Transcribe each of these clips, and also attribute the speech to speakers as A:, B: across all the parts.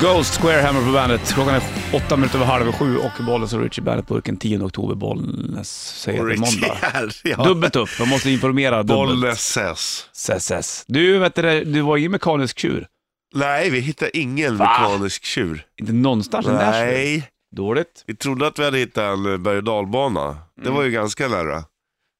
A: Ghost Square Hammer på bandet. Klockan är åtta minuter över halv sju och bollen så Richie Bandet-burken 10 oktober. Bollnäs säger det måndag.
B: Richard, ja.
A: Dubbelt upp, man måste informera dubbelt.
B: Bollnäs ses.
A: Sess, sess. Du, vet du, det, du var ju mekanisk tjur.
B: Nej, vi hittar ingen
A: Va?
B: mekanisk tjur.
A: Inte någonstans i Nashville.
B: Nej,
A: Dåligt.
B: vi trodde att vi hade hittat en eh, berg och dalbana. Det var ju ganska nära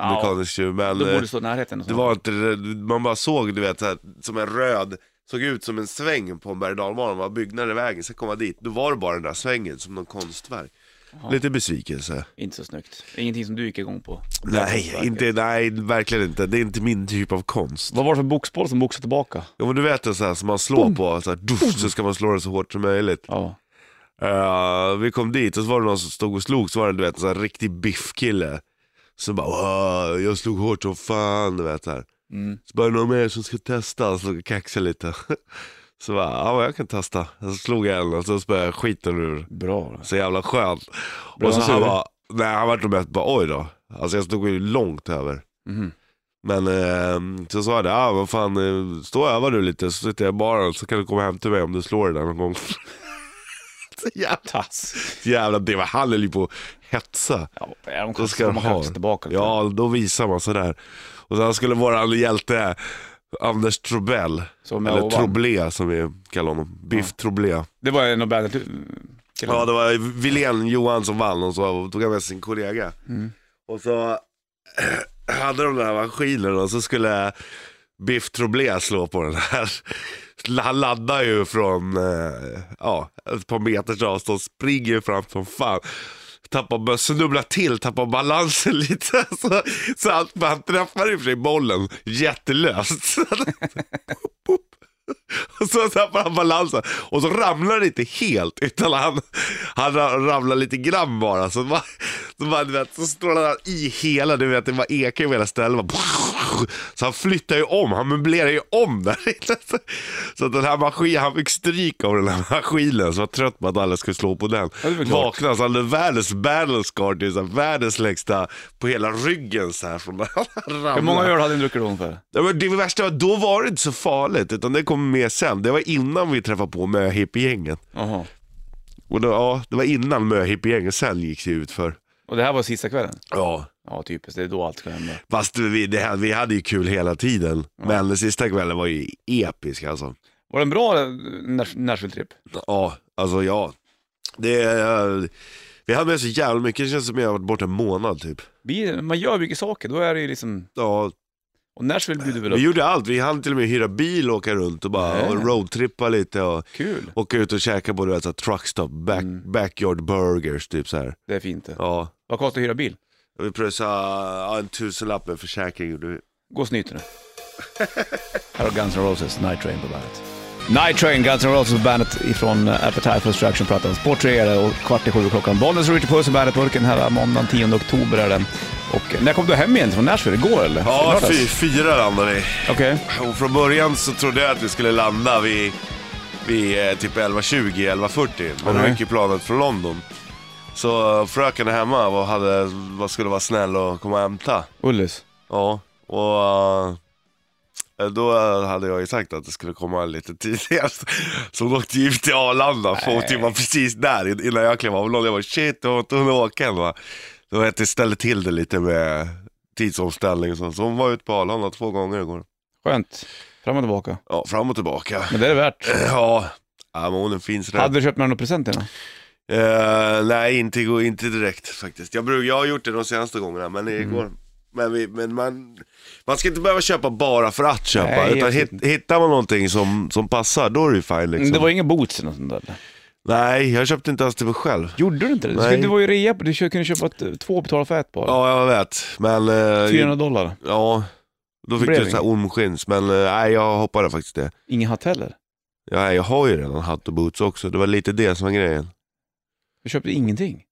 A: Mm. Ja,
B: mekanisk tjur, men
A: då
B: eh,
A: borde stå i närheten. och
B: det
A: sånt.
B: var inte det. Man bara såg, du vet, så här, som en röd, såg ut som en sväng på en berg och dalbana. Man bara byggnader i vägen, sen kom man dit. Då var det bara den där svängen som någon konstverk. Lite besvikelse.
A: Inte så snyggt. Ingenting som du gick igång på.
B: Nej, inte, nej, verkligen inte. Det är inte min typ av konst.
A: Vad var det för boxboll som boxade tillbaka?
B: Ja, men du vet det så här som man slår på, så, här, dusch, så ska man slå den så hårt som möjligt.
A: Ja.
B: Eh, vi kom dit och så var det någon som stod och slog, så var det du vet, en sån här riktig biffkille. Som bara "Åh, jag slog hårt som fan, du vet. så Här.
A: Mm.
B: Så bara, är det någon mer som ska testa? Så kaxade lite. Så bara, ja men jag kan testa. Så slog jag en och så spöade skiten ur.
A: Bra.
B: Så jävla skönt.
A: Blev
B: och så
A: han
B: han
A: sur?
B: bara, nej han vart nog mest bara oj då. Alltså jag stod ju långt över.
A: Mhm.
B: Men eh, så sa jag det, ah, vad fan, eh, stå och öva du lite så sitter jag i baren så kan du komma hem till mig om du slår det där någon gång. så jävla,
A: Tass.
B: så jävla det var han höll ju på att hetsa.
A: Ja, Alltså, de
B: Då
A: kanske
B: ska jag
A: komma
B: ha.
A: kanske tillbaka. lite.
B: Ja, då visar man sådär. Och sen skulle våran hjälte Anders Trobell,
A: Som jag
B: eller
A: vann.
B: Troblé som vi kallar honom, Biff Troblé.
A: Det var en av bandet killarna.
B: Ja, det var Wilén Johan som vann och så tog han med sin kollega. Och så hade de den här maskinen och så skulle Biff Troblé slå på den här. Han laddar ju från eh, ja, ett par meters avstånd, springer ju fram som fan. Tappar, bör- snubblar till, tappar balansen lite. Så, så att man träffar i och för sig bollen jättelöst. Så att- och så tappar han balansen och så ramlar det inte helt utan han, han ra- ramlar lite grann bara. Så, bara, så, bara, du vet, så strålar han i hela, du vet det bara ekar över hela stället. Bara, så han flyttar ju om, han möblerar ju om där inne. Så- Så att den här maskinen, han fick stryk av den här maskinen så var trött på att alla skulle slå på den.
A: Ja, det är väl klart.
B: Vaknade så han hade världens balance guard, det är så här världens längsta på hela ryggen så här från när han
A: Hur många
B: ramlade.
A: öl hade ni druckit då ungefär?
B: Ja, men det värsta var då var det inte så farligt, utan det kom med sen. Det var innan vi träffade på möhippiegängen.
A: Jaha.
B: Och då, ja, det var innan möhippiegängen, sen gick det ut för.
A: Och det här var sista kvällen?
B: Ja,
A: Ja, typiskt. Det är då allt ska hända.
B: fast vi, det, här- vi hade ju kul hela tiden. Men den sista kvällen var ju episk alltså.
A: Var det en bra eh, Nash- Nashville-trip?
B: Ja, alltså ja. Det, eh, vi hade med så jävla mycket, det känns som jag har varit borta en månad typ.
A: Vi- Man gör mycket saker, då är det ju liksom...
B: Ja,
A: Och Nashville bjuder väl
B: vi
A: upp.
B: gjorde allt. Vi hann till och med hyra bil och åka runt och bara
A: Nej.
B: och roadtrippa lite. Och,
A: Kul.
B: Åka ut och käka på du vet, så här truckstop, back, backyard burgers typ så här.
A: Det är fint det.
B: Ja.
A: Vad kostar att hyra bil?
B: Vi pröjsade ja, en tusenlapp med försäkring. gjorde vi.
A: Gå och snyt nu. Här har Guns N' Roses, Night Train på bandet. Night Train, Guns N' Roses på bandet ifrån eh, Appetite for Destruction plattan. Sport 3 är det och kvart i sju är klockan. Bollnäs och Richard Puss i bandet-burken här är måndagen 10 oktober är den. Och eh, när kom du hem igen från Nashville? Igår eller?
B: Ja,
A: Lördags?
B: fy, fyra landade vi.
A: Okej.
B: Och från början så trodde jag att vi skulle landa vid, vid eh, typ 11.20, 11.40. Men då
A: Nej.
B: gick ju planet från London. Så eh, fröken är hemma och hade, vad skulle vara snäll och komma och hämta.
A: Ullis.
B: Ja, och eh, då hade jag ju sagt att det skulle komma lite tidigare. Så hon åkte ju till Arlanda, för hon typ var precis där innan jag klev av. Jag var shit, jag har inte hunnit åka än va. Då vet jag ställde till det lite med tidsomställning och sånt. Så hon var ute på Arlanda två gånger igår.
A: Skönt. Fram och tillbaka.
B: Ja, fram och tillbaka.
A: Men det är det värt.
B: Ja, ja men hon är en fin sådär.
A: Hade du köpt med några presenter? då?
B: Eh, nej, inte, igår- inte direkt faktiskt. Jag, bruk, jag har gjort det de senaste gångerna, men
A: Mm.
B: igår. Men, vi, men man, man ska inte behöva köpa bara för att köpa,
A: Nej,
B: utan
A: absolut
B: hit, hittar man någonting som, som passar, då är det ju fine liksom.
A: Mm, Det var ingen boots eller något sånt där? eller?
B: Nej, jag köpte inte ens till mig själv.
A: Gjorde du inte det? Du, skulle,
B: Nej.
A: du var ju i rea, på- du kö- kunde köpa ett, eh, två och betala för ett bara.
B: Ja, jag vet, men... eh,
A: 400 dollar.
B: Ja, då fick
A: Blev
B: du så här ormskins, men eh, nej, jag hoppade faktiskt det.
A: Ingen hatt heller.
B: Ja, jag har ju redan hatt och boots också, det var lite det som var grejen.
A: Du köpte ingenting.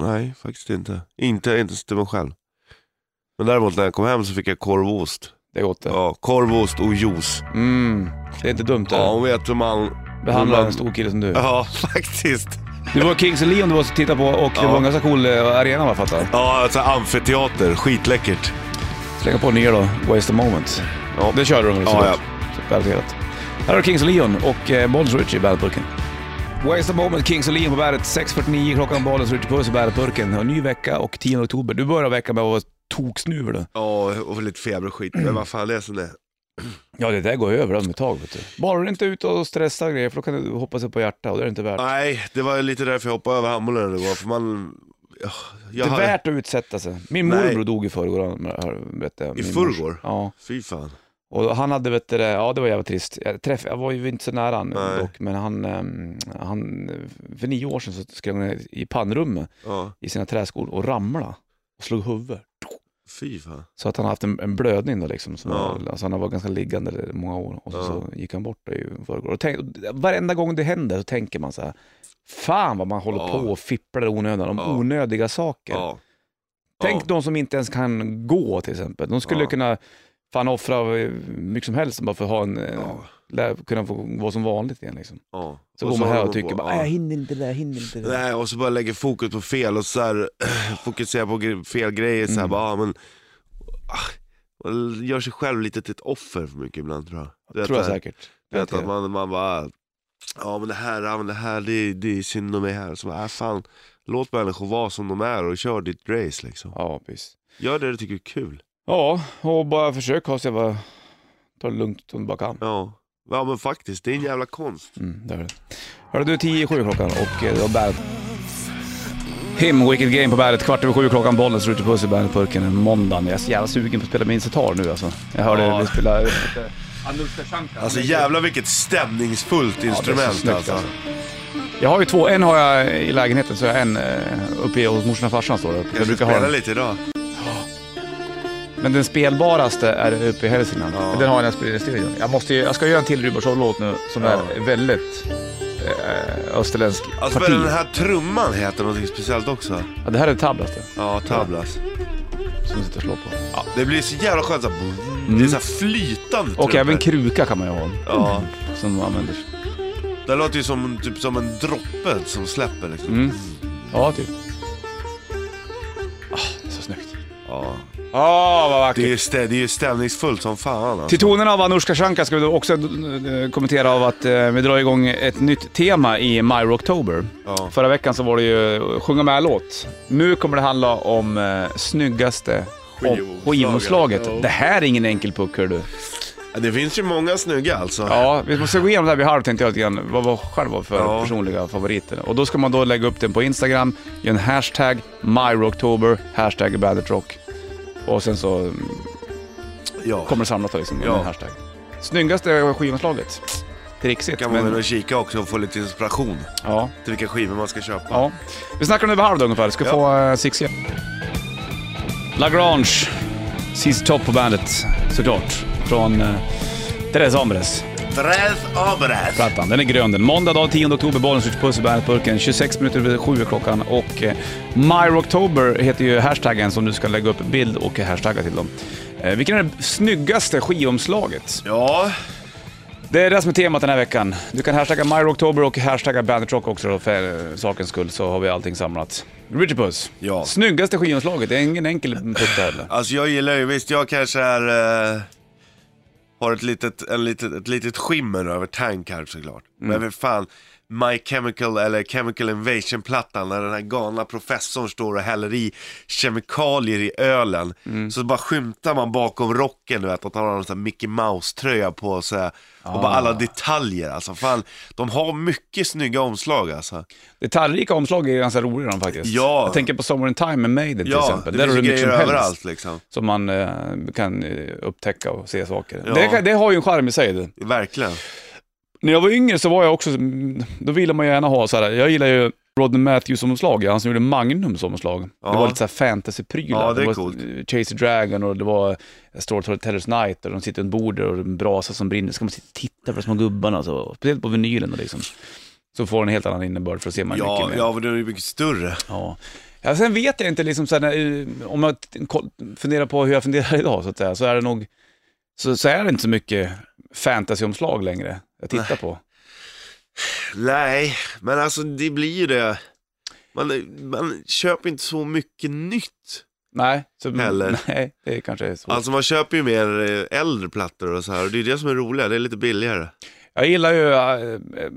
B: Nej, faktiskt inte. Inte inte ens till mig själv. Men däremot när jag kom hem så fick jag korv och ost.
A: Det är gott det.
B: Ja, korv, ost och juice.
A: Mm, det är inte dumt det.
B: Ja, hon vet hur man...
A: Behandla
B: man-
A: en stor kille som du.
B: Ja, faktiskt.
A: Du var Kings och Leon du var och tittade på och det
B: Ja.
A: var en ganska cool eh, arena vad jag fattar.
B: Ja, alltså amfiteater. Skitläckert.
A: Slänga på nya då, Waste a Moment.
B: Ja.
A: Det körde de väl
B: Ja,
A: såklart. Så Garanterat. Här har du Kings och Leon och eh, Bonds Richie i bandburken. Waste of Moment, Kings och Lean på bandet. 6.49 klockan, Bollens Ritchie Puss och Bandet-burken. Och Ny vecka och 10 oktober. Du börjar veckan med att vara toksnuvig du.
B: Ja, och lite feber och skit. Men vad fan, det är som det är.
A: Ja, det där går över om ett tag. Vet du. Bara du inte är ute och stressar grejer, för då kan du hoppa sig på hjärta och det är det inte värt.
B: Nej, det var ju lite därför jag hoppade över handbollen igår. För man... ja, Jag
A: Det är
B: har-
A: värt att utsätta sig. Min
B: Nej.
A: morbror dog i förrgår. han- han- Vet du,
B: I
A: min
B: förrgår?
A: mors- Ja.
B: Fy fan.
A: Och han hade, vet du, det- ja det var jävligt trist. Jag, träff, jag var ju inte så nära han
B: Nej.
A: dock, men han, ehm, han, för nio år sedan så skrev han i pannrummet
B: Ja,
A: i sina träskor och ramlade och slog huvudet.
B: fy fan.
A: Så att han har haft en, en blödning då liksom. Som
B: Ja.
A: var, alltså han har varit ganska liggande i många år och så,
B: Ja.
A: så gick han bort då i förrgår. Och tänk, varenda gång det händer så tänker man så här, fan vad man håller
B: Ja.
A: på och fipplar i onödan om
B: Ja.
A: onödiga saker.
B: Ja.
A: Tänk
B: ja.
A: de som inte ens kan gå till exempel. De skulle
B: Ja.
A: kunna fan offra hur mycket som helst bara för att ha en, eh,
B: Ja,
A: lä- kunna få vara som vanligt igen. Liksom.
B: ja.
A: Så
B: Och
A: går man
B: håller
A: här och tycker
B: på.
A: bara,
B: Ja.
A: "Nej, jag hinner inte det där, jag hinner inte det där.
B: Nej, och så bara lägger fokus på fel och så här, fokuserar på gre- fel grejer. Så här,
A: Mm.
B: bara, ah, men, ah, man gör sig själv lite till ett offer för mycket ibland tror jag. Du vet,
A: Tror jag
B: så här,
A: säkert.
B: du vet, att man, man bara, ja men det här, ja, men det här, det, det är synd om mig här. Så bara, ah, fan, låt människor vara som de är och kör ditt race liksom.
A: Ja, precis.
B: Gör det du tycker är kul.
A: Ja, och bara försök ha sig, bara ta det lugnt om du bara kan.
B: Ja. ja men faktiskt, det är en jävla konst.
A: Mm, det är det. Hörru du, 10 i sju klockan och eh, det var Bandet. Him, Wicked Game på Bandet. Kvart över sju klockan, bollen slår ut i puss i Bandet-burken måndagen. Jag är så jävla sugen på att spela min sitar nu alltså. Jag hörde
B: Ja.
A: vi spelade...
B: Alltså jävla vilket stämningsfullt instrument
A: snyggt,
B: alltså.
A: alltså. Jag har ju två, en har jag i lägenheten så jag har en eh, uppe hos morsan och farsan står det. Jag
B: Jag
A: brukar
B: brukar
A: ha
B: spela
A: den.
B: lite idag.
A: Men den spelbaraste är uppe i Hälsingland.
B: Ja.
A: Den har jag när jag spelar i studion. Jag, måste, ju- jag ska göra en till Rubarsson-låt nu som
B: Ja.
A: är väldigt eh, österländsk
B: Alltså
A: parti.
B: men den här trumman heter någonting speciellt också.
A: Ja, det här är tablas det,
B: Ja, tablas.
A: som sitter och slår på.
B: Ja, det blir så jävla skönt såhär, det är såhär flytande
A: Mm. Och även
B: trumpet.
A: kruka kan man ju ha
B: Ja,
A: som man använder.
B: det låter ju som, typ, som en droppe som släpper liksom.
A: Mm. Ja, typ. Ah, det är så snyggt.
B: Ja.
A: Ah, vad vackert.
B: Det, är ju stä, det är ju stämningsfullt som fan alltså.
A: Till tonerna av Anushka Shankar ska vi då också eh, kommentera av att eh, vi drar igång ett nytt tema i My Rocktober.
B: Ja.
A: Förra veckan så var det ju eh, sjunga med-låt. Nu kommer det handla om eh, snyggaste om-
B: Skivomslaget.
A: skivomslaget.
B: Ja.
A: Det här är ingen enkel puck hör du.
B: Det finns ju många snygga alltså.
A: Ja, vi måste gå igenom det här vid halv tänkte jag lite grann. Vad var själv var för
B: Ja.
A: personliga favoriter. Och då ska man då lägga upp den på Instagram, ge en hashtag MyRocktober, hashtag Bandet Rock. Och sen så mm,
B: Ja.
A: kommer det samlat då liksom,
B: Ja.
A: under en hashtag. Snyggaste skivomslaget. Trixigt,
B: Kan man väl
A: men...
B: och kika också och få lite inspiration
A: Ja,
B: till vilka skivor man ska köpa.
A: ja. Vi snackar nu vid halv då ungefär. Ska
B: Ja.
A: få uh, Six igen. Lagrange, sist topp på bandet såklart. Från uh, Tres Hombres.
B: Tres obras.
A: Plattan. Den är grön den. Måndag dag 10 oktober, Bollnäs skjuts puss i Bandet-burken. 26 minuter över 7 är klockan och eh, MyRocktober heter ju hashtaggen som du ska lägga upp bild och hashtagga till dem. Eh, vilken är det snyggaste skivomslaget?
B: Ja,
A: Det är det som är temat den här veckan. Du kan hashtagga MyRocktober och hashtagga Bandit Rock också då, för eh, sakens skull så har vi allting samlat. Richard Puss,
B: Ja.
A: snyggaste skivomslaget. Det är ingen enkel putt där heller.
B: alltså jag gillar ju, visst jag kanske är... Eh, har ett litet, en litet, ett litet skimmer över Tankard såklart.
A: Mm.
B: Men för fan, My Chemical eller Chemical Invasion-plattan när den här galna professorn står och häller i kemikalier i ölen.
A: Mm.
B: Så bara skymtar man bakom rocken du vet, att han har en sån här Mickey Mouse-tröja på sig. Och
A: Ah.
B: bara alla detaljer alltså. Fan, de har mycket snygga omslag alltså.
A: Detaljrika omslag är ganska roliga de faktiskt.
B: Ja.
A: Jag tänker på Summer in Time med Maiden till
B: Ja,
A: exempel.
B: det finns
A: har
B: ju
A: du mycket
B: grejer
A: som helst.
B: överallt liksom.
A: som man eh, kan eh, upptäcka och se saker.
B: Ja.
A: Det, kan- det har ju en charm i sig. Det.
B: Verkligen.
A: När jag var yngre så var jag också, mm, då ville man ju gärna ha så här. jag gillar ju Rodney Matthews omslag, ja, han som gjorde Magnums omslag. Det
B: Ja.
A: var lite såhär fantasyprylar.
B: Ja, det är
A: var
B: coolt.
A: eh, Chase the Dragon och det var Storytellers Night och de sitter under bordet och en brasa som brinner. Så kan man sitta och titta på de små gubbarna och så. Speciellt på vinylen och liksom. Så får den en helt annan innebörd för att se man mycket
B: Ja,
A: mer.
B: ja, men den är ju mycket större.
A: Ja. Ja, sen vet jag inte, liksom, så här, när, eh, om jag t- ko- funderar på hur jag funderar idag så, att säga, så är det nog, så, så är det inte så mycket fantasyomslag längre jag tittar på.
B: Nej, men alltså det blir ju det. Man, man köper inte så mycket nytt.
A: Nej, så,
B: Heller.
A: nej, det är
B: Mm.
A: kanske är så.
B: Alltså man köper ju mer eh, äldre plattor och så här. Och det är det som är roligt, det är lite billigare.
A: Jag gillar ju eh, eh,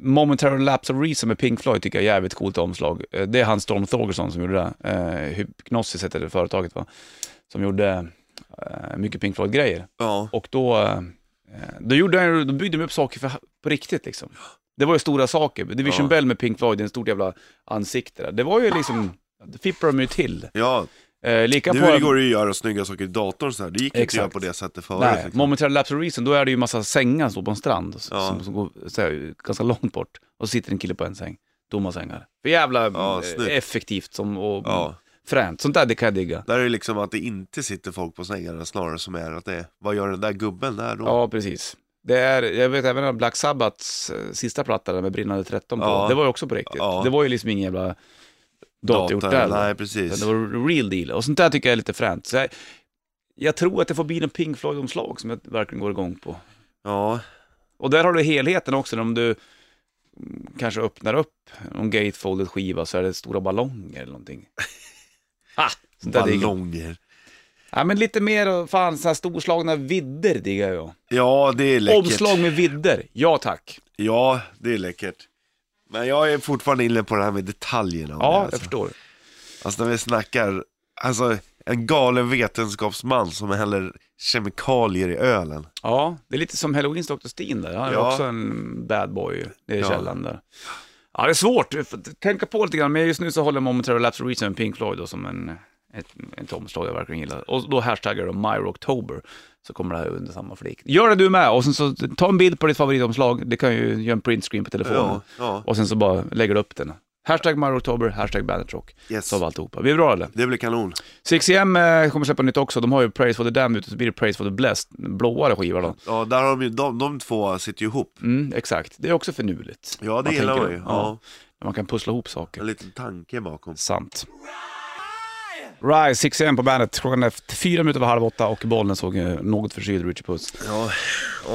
A: Momentary Lapse of Reason med Pink Floyd, tycker jag är jävligt coolt omslag. Eh, Det är han Storm Thorgerson som gjorde det. Eh, Hypnosis heter det företaget va? Som gjorde eh, mycket Pink Floyd-grejer.
B: Ja.
A: Och då, eh, då, gjorde han, ju- då byggde de upp saker för, på riktigt liksom. Det var ju stora saker. Division
B: Ja.
A: Bell med Pink Floyd, det är en stort jävla ansikte där. Det var ju liksom, det fipprar de ju till.
B: ja.
A: Eh, lika på...
B: Nu går det ju att göra snygga saker i datorn så här. Det gick inte att göra
A: Exakt.
B: på det sättet förut.
A: Nej,
B: liksom.
A: Momentary Lapse of Reason, då är det ju massa sängar som står på en strand, s-
B: Ja.
A: som, som går så här, ganska långt bort. Och så sitter en kille på en säng. Tomma sängar. För jävla
B: Ja,
A: eh,
B: snyggt.
A: effektivt som, och
B: Ja.
A: fränt. Sånt där det kan jag digga.
B: Där är det liksom att det inte sitter folk på sängarna snarare som är att det är, vad gör den där gubben där då?
A: Ja, precis. Det är, jag vet även att Black Sabbaths eh, sista platta där med Brinnande 13 på,
B: Ja.
A: det var ju också på riktigt.
B: Ja.
A: Det var ju liksom ingen jävla datorgjort
B: Datorn.
A: där.
B: Nej, precis.
A: Det var real deal. Och sånt där tycker jag är lite fränt. Så jag, jag tror att det får bli en Pink Floyd-omslag som jag verkligen går igång på.
B: Ja,
A: Och där har du helheten också, om du mm, kanske öppnar upp en gatefolded skiva så är det stora ballonger eller någonting. Ah, sånt där diggar jag.
B: ballonger.
A: Ja, men lite mer, och fan, så här storslagna vidder diggar jag.
B: Ja, det är läckert.
A: Omslag med vidder, ja tack.
B: Ja, det är läckert. Men jag är fortfarande inne på det här med detaljerna. om det,
A: Ja,
B: alltså.
A: jag förstår.
B: Alltså när vi snackar, alltså en galen vetenskapsman som häller kemikalier i ölen.
A: Ja, det är lite som Halloweens Dr. Steen där, han är
B: Ja.
A: också en bad boy nere i
B: Ja.
A: källaren där. Ja, det är svårt, Du får tänka på lite grann, men just nu så håller jag Momentary Lapse of Reason med Pink Floyd då, som en, ett, ett omslag jag verkligen gillar. Och då hashtaggar de MyRocktober, så kommer det här under samma flik. Gör det du med, och sen så ta en bild på ditt favoritomslag, det kan ju göra en printscreen på telefonen.
B: Ja, ja.
A: Och sen så bara lägger du upp den. Hashtag MyRocktober, hashtag Bandetrock.
B: Yes.
A: Så av alltihopa. Vi är bra eller?
B: Det blir kanon.
A: 6M eh, kommer släppa nytt också, de har ju Praise for the Damned ute, så blir det Praise for the Blessed, en blåare skiva då.
B: Ja, där har de, ju- de, de två sitter ju ihop.
A: Mm, exakt, det är också finurligt.
B: Ja, det
A: Man
B: gillar
A: tänker
B: man ju.
A: det.
B: Ja.
A: Man kan pussla ihop saker.
B: En liten tanke bakom.
A: Sant. Rise 6 am på bandet, klockan är f- fyra minuter över halv åtta och bollen såg eh, något förkyld Richie Puss.
B: Ja,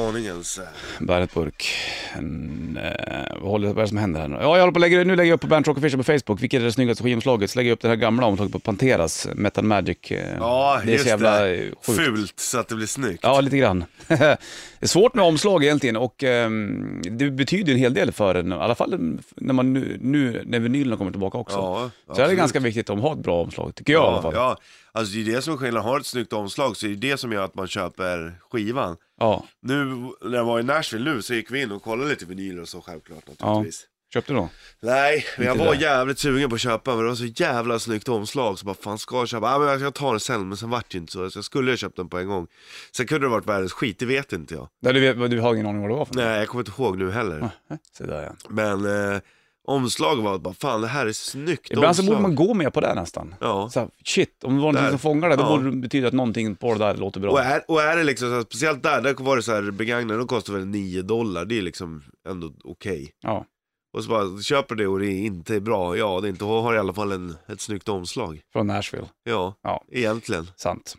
B: aningens.
A: Bandet Burk. En, eh, vad, håller, vad är det som händer här nu? Ja, jag håller på att lägga, nu lägger jag upp på Bandet Rock Official på Facebook, vilket är det snyggaste skivomslaget. Så lägger jag upp det här gamla omslaget på Panteras, Metal Magic. eh,
B: Ja,
A: det är
B: just
A: så jävla eh,
B: det.
A: sjukt.
B: Fult så att det blir snyggt.
A: Ja, lite grann. det är svårt med omslag egentligen och ehm, det betyder ju en hel del för en, i alla fall när, man nu, nu, när vinylen kommer tillbaka också.
B: Ja,
A: så är det
B: absolut.
A: ganska viktigt att ha ett bra omslag, tycker jag i alla fall. Ja.
B: Ja, alltså det är det som är skillnaden. Har ett snyggt omslag så är det det som gör att man köper skivan. Nu när jag var i Nashville nu så gick vi in och kollade lite vinyler och så självklart naturligtvis.
A: Köpte du någon?
B: Nej, men jag
A: Inte
B: var
A: det.
B: jävligt sugen på att köpa men det var så jävla snyggt omslag så bara fan ska jag köpa? Ja men jag ska ta det sen men sen vart det inte så. Så jag skulle ha köpt den på en gång. Sen kunde det varit världens skit, det vet inte jag.
A: Nej, du, vet- du har ingen aning vad det var för något?
B: Nej jag kommer inte ihåg nu heller.
A: Så där, ja.
B: Men eh, omslaget var bara fan det här är snyggt
A: Ibland så
B: omslag.
A: borde man gå med på det nästan.
B: Ja.
A: Så här, shit, om det var någonting
B: Där.
A: som fångade det, då
B: Ja.
A: borde det betyda att någonting på det där låter bra.
B: Och är, och är det liksom, så här, speciellt där, där var det så här begagnade, de kostar väl 9 dollar, det är liksom ändå okej.
A: Ja.
B: Och så bara, köper det och det är inte bra, ja det är inte, har i alla fall en, ett snyggt omslag.
A: Från Nashville,
B: Ja,
A: Ja.
B: egentligen.
A: sant.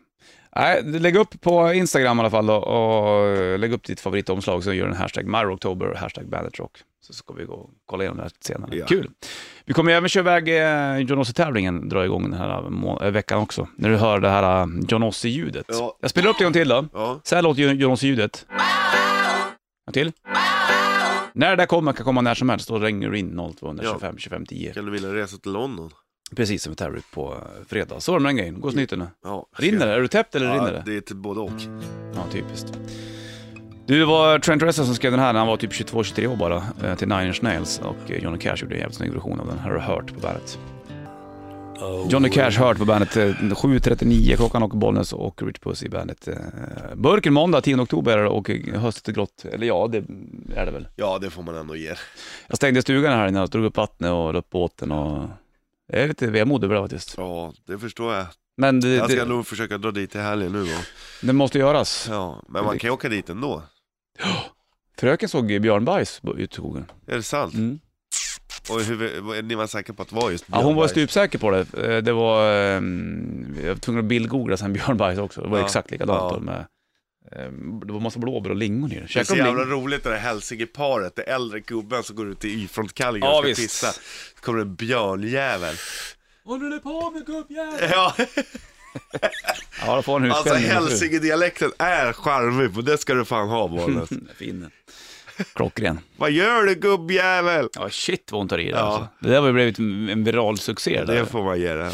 A: Nej, lägg upp på Instagram i alla fall då, och eh, lägg upp ditt favoritomslag så gör en hashtag MyRocktober och hashtag Bandetrock. Så ska vi gå och kolla igenom det här senare.
B: Ja.
A: Kul! Vi kommer även köra iväg eh, John Ossie-tävlingen, dra igång den här må- eh, veckan också. När du hör det här eh, John Ossie-ljudet.
B: Ja.
A: Jag spelar upp det en gång till då.
B: Ja,
A: Så här låter ju Jonas-ljudet. En till. När det där kommer kan komma när som helst, då ringer du in 0225 25 10.
B: kan du vilja resa till London?
A: Precis som vi tar ut på eh, fredag. Så var det med den grejen, gå och snyt nu.
B: Ja,
A: Rinner det? Är du täppt eller
B: Ja,
A: rinner det?
B: det är till både och.
A: Ja, typiskt. Du, det var Trent Reznor som skrev den här när han var typ 22-23 år bara, eh, till Nine Inch Nails och eh, Johnny Cash gjorde en jävligt snygg version av den. Här har du hört på bandet. Oh, Johnny
B: Oh,
A: Cash hört på bandet eh, 7.39 klockan och Bollnäs och Rich Puss i bandet. eh, Burken måndag 10 oktober och eh, höstet är grått, eller ja det är det väl.
B: Ja, det får man ändå ge.
A: Jag stängde stugan här innan, jag drog upp vattnet och la upp båten och jag är lite vemod över det faktiskt.
B: Ja, det förstår jag.
A: Men det,
B: Jag ska
A: det,
B: nog försöka dra dit i helgen nu då.
A: det måste göras.
B: Ja, men man kan ju åka dit ändå.
A: Fröken såg ju björnbajs ute i skogen.
B: Är det sant?
A: Mm.
B: Och hur, vad- är ni var säkra på att det var just
A: Ja, hon var
B: Björnberg?
A: stupsäker på det. Eh, Det var, ehm, jag var tvungen att bildgoogla sen björnbajs också. Det var
B: Ja.
A: exakt likadant
B: Ja.
A: då med, ehm, det var massa blåbär och lingon i det.
B: Det är så
A: Käkade de
B: jävla
A: lingon?
B: roligt det där hälsingeparet, det äldre gubben som går ut i Y-frontkallingar
A: Ja,
B: och ska
A: visst.
B: pissa. Så kommer en björnjävel.
A: Håller du på med gubbjävel?
B: Ja,
A: Ja, då får han
B: Alltså
A: utskällning.
B: hälsingedialekten är charmig, men det ska du fan ha Bollnäs.
A: Mm, Fin. Klockren.
B: Vad gör du gubbjävel?
A: Ja, shit vad hon tar i det
B: Ja.
A: alltså. Det där har ju blivit en en viral succé. Där.
B: Det får man ge det.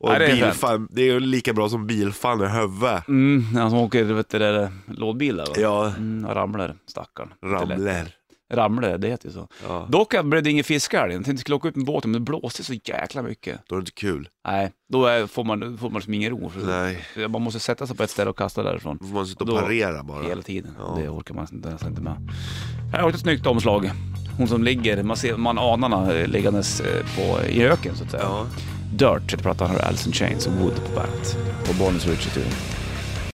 B: Och
A: Ja, det är
B: bilfan, det är ju lika bra som bilfan i huvudet.
A: Mm, när han åker vet du, det där, lådbil där va?
B: Ja,
A: Mm, och ramlar, stackarn.
B: ramlar.
A: Ramlar, det heter ju så.
B: Ja.
A: Dock blev det ingen fiskehelg. Jag tänkte jag skulle åka ut med båten, men det blåste så jäkla mycket.
B: Då är det inte kul.
A: Nej, då är, får man, får man liksom ingen ro. För
B: Nej,
A: Man måste sätta sig på ett ställe och kasta därifrån.
B: då får man sitta och
A: Då-
B: parera bara.
A: Hela tiden.
B: Ja.
A: Det orkar man nästan inte med. Här har vi ett snyggt omslag. Hon som ligger, man, ser, man anar henne eh, liggandes eh, på, i öken så att säga.
B: Ja.
A: Dirt pratar han om Alice in Chains och Wood på bandet. På Bonus Richie tydligen.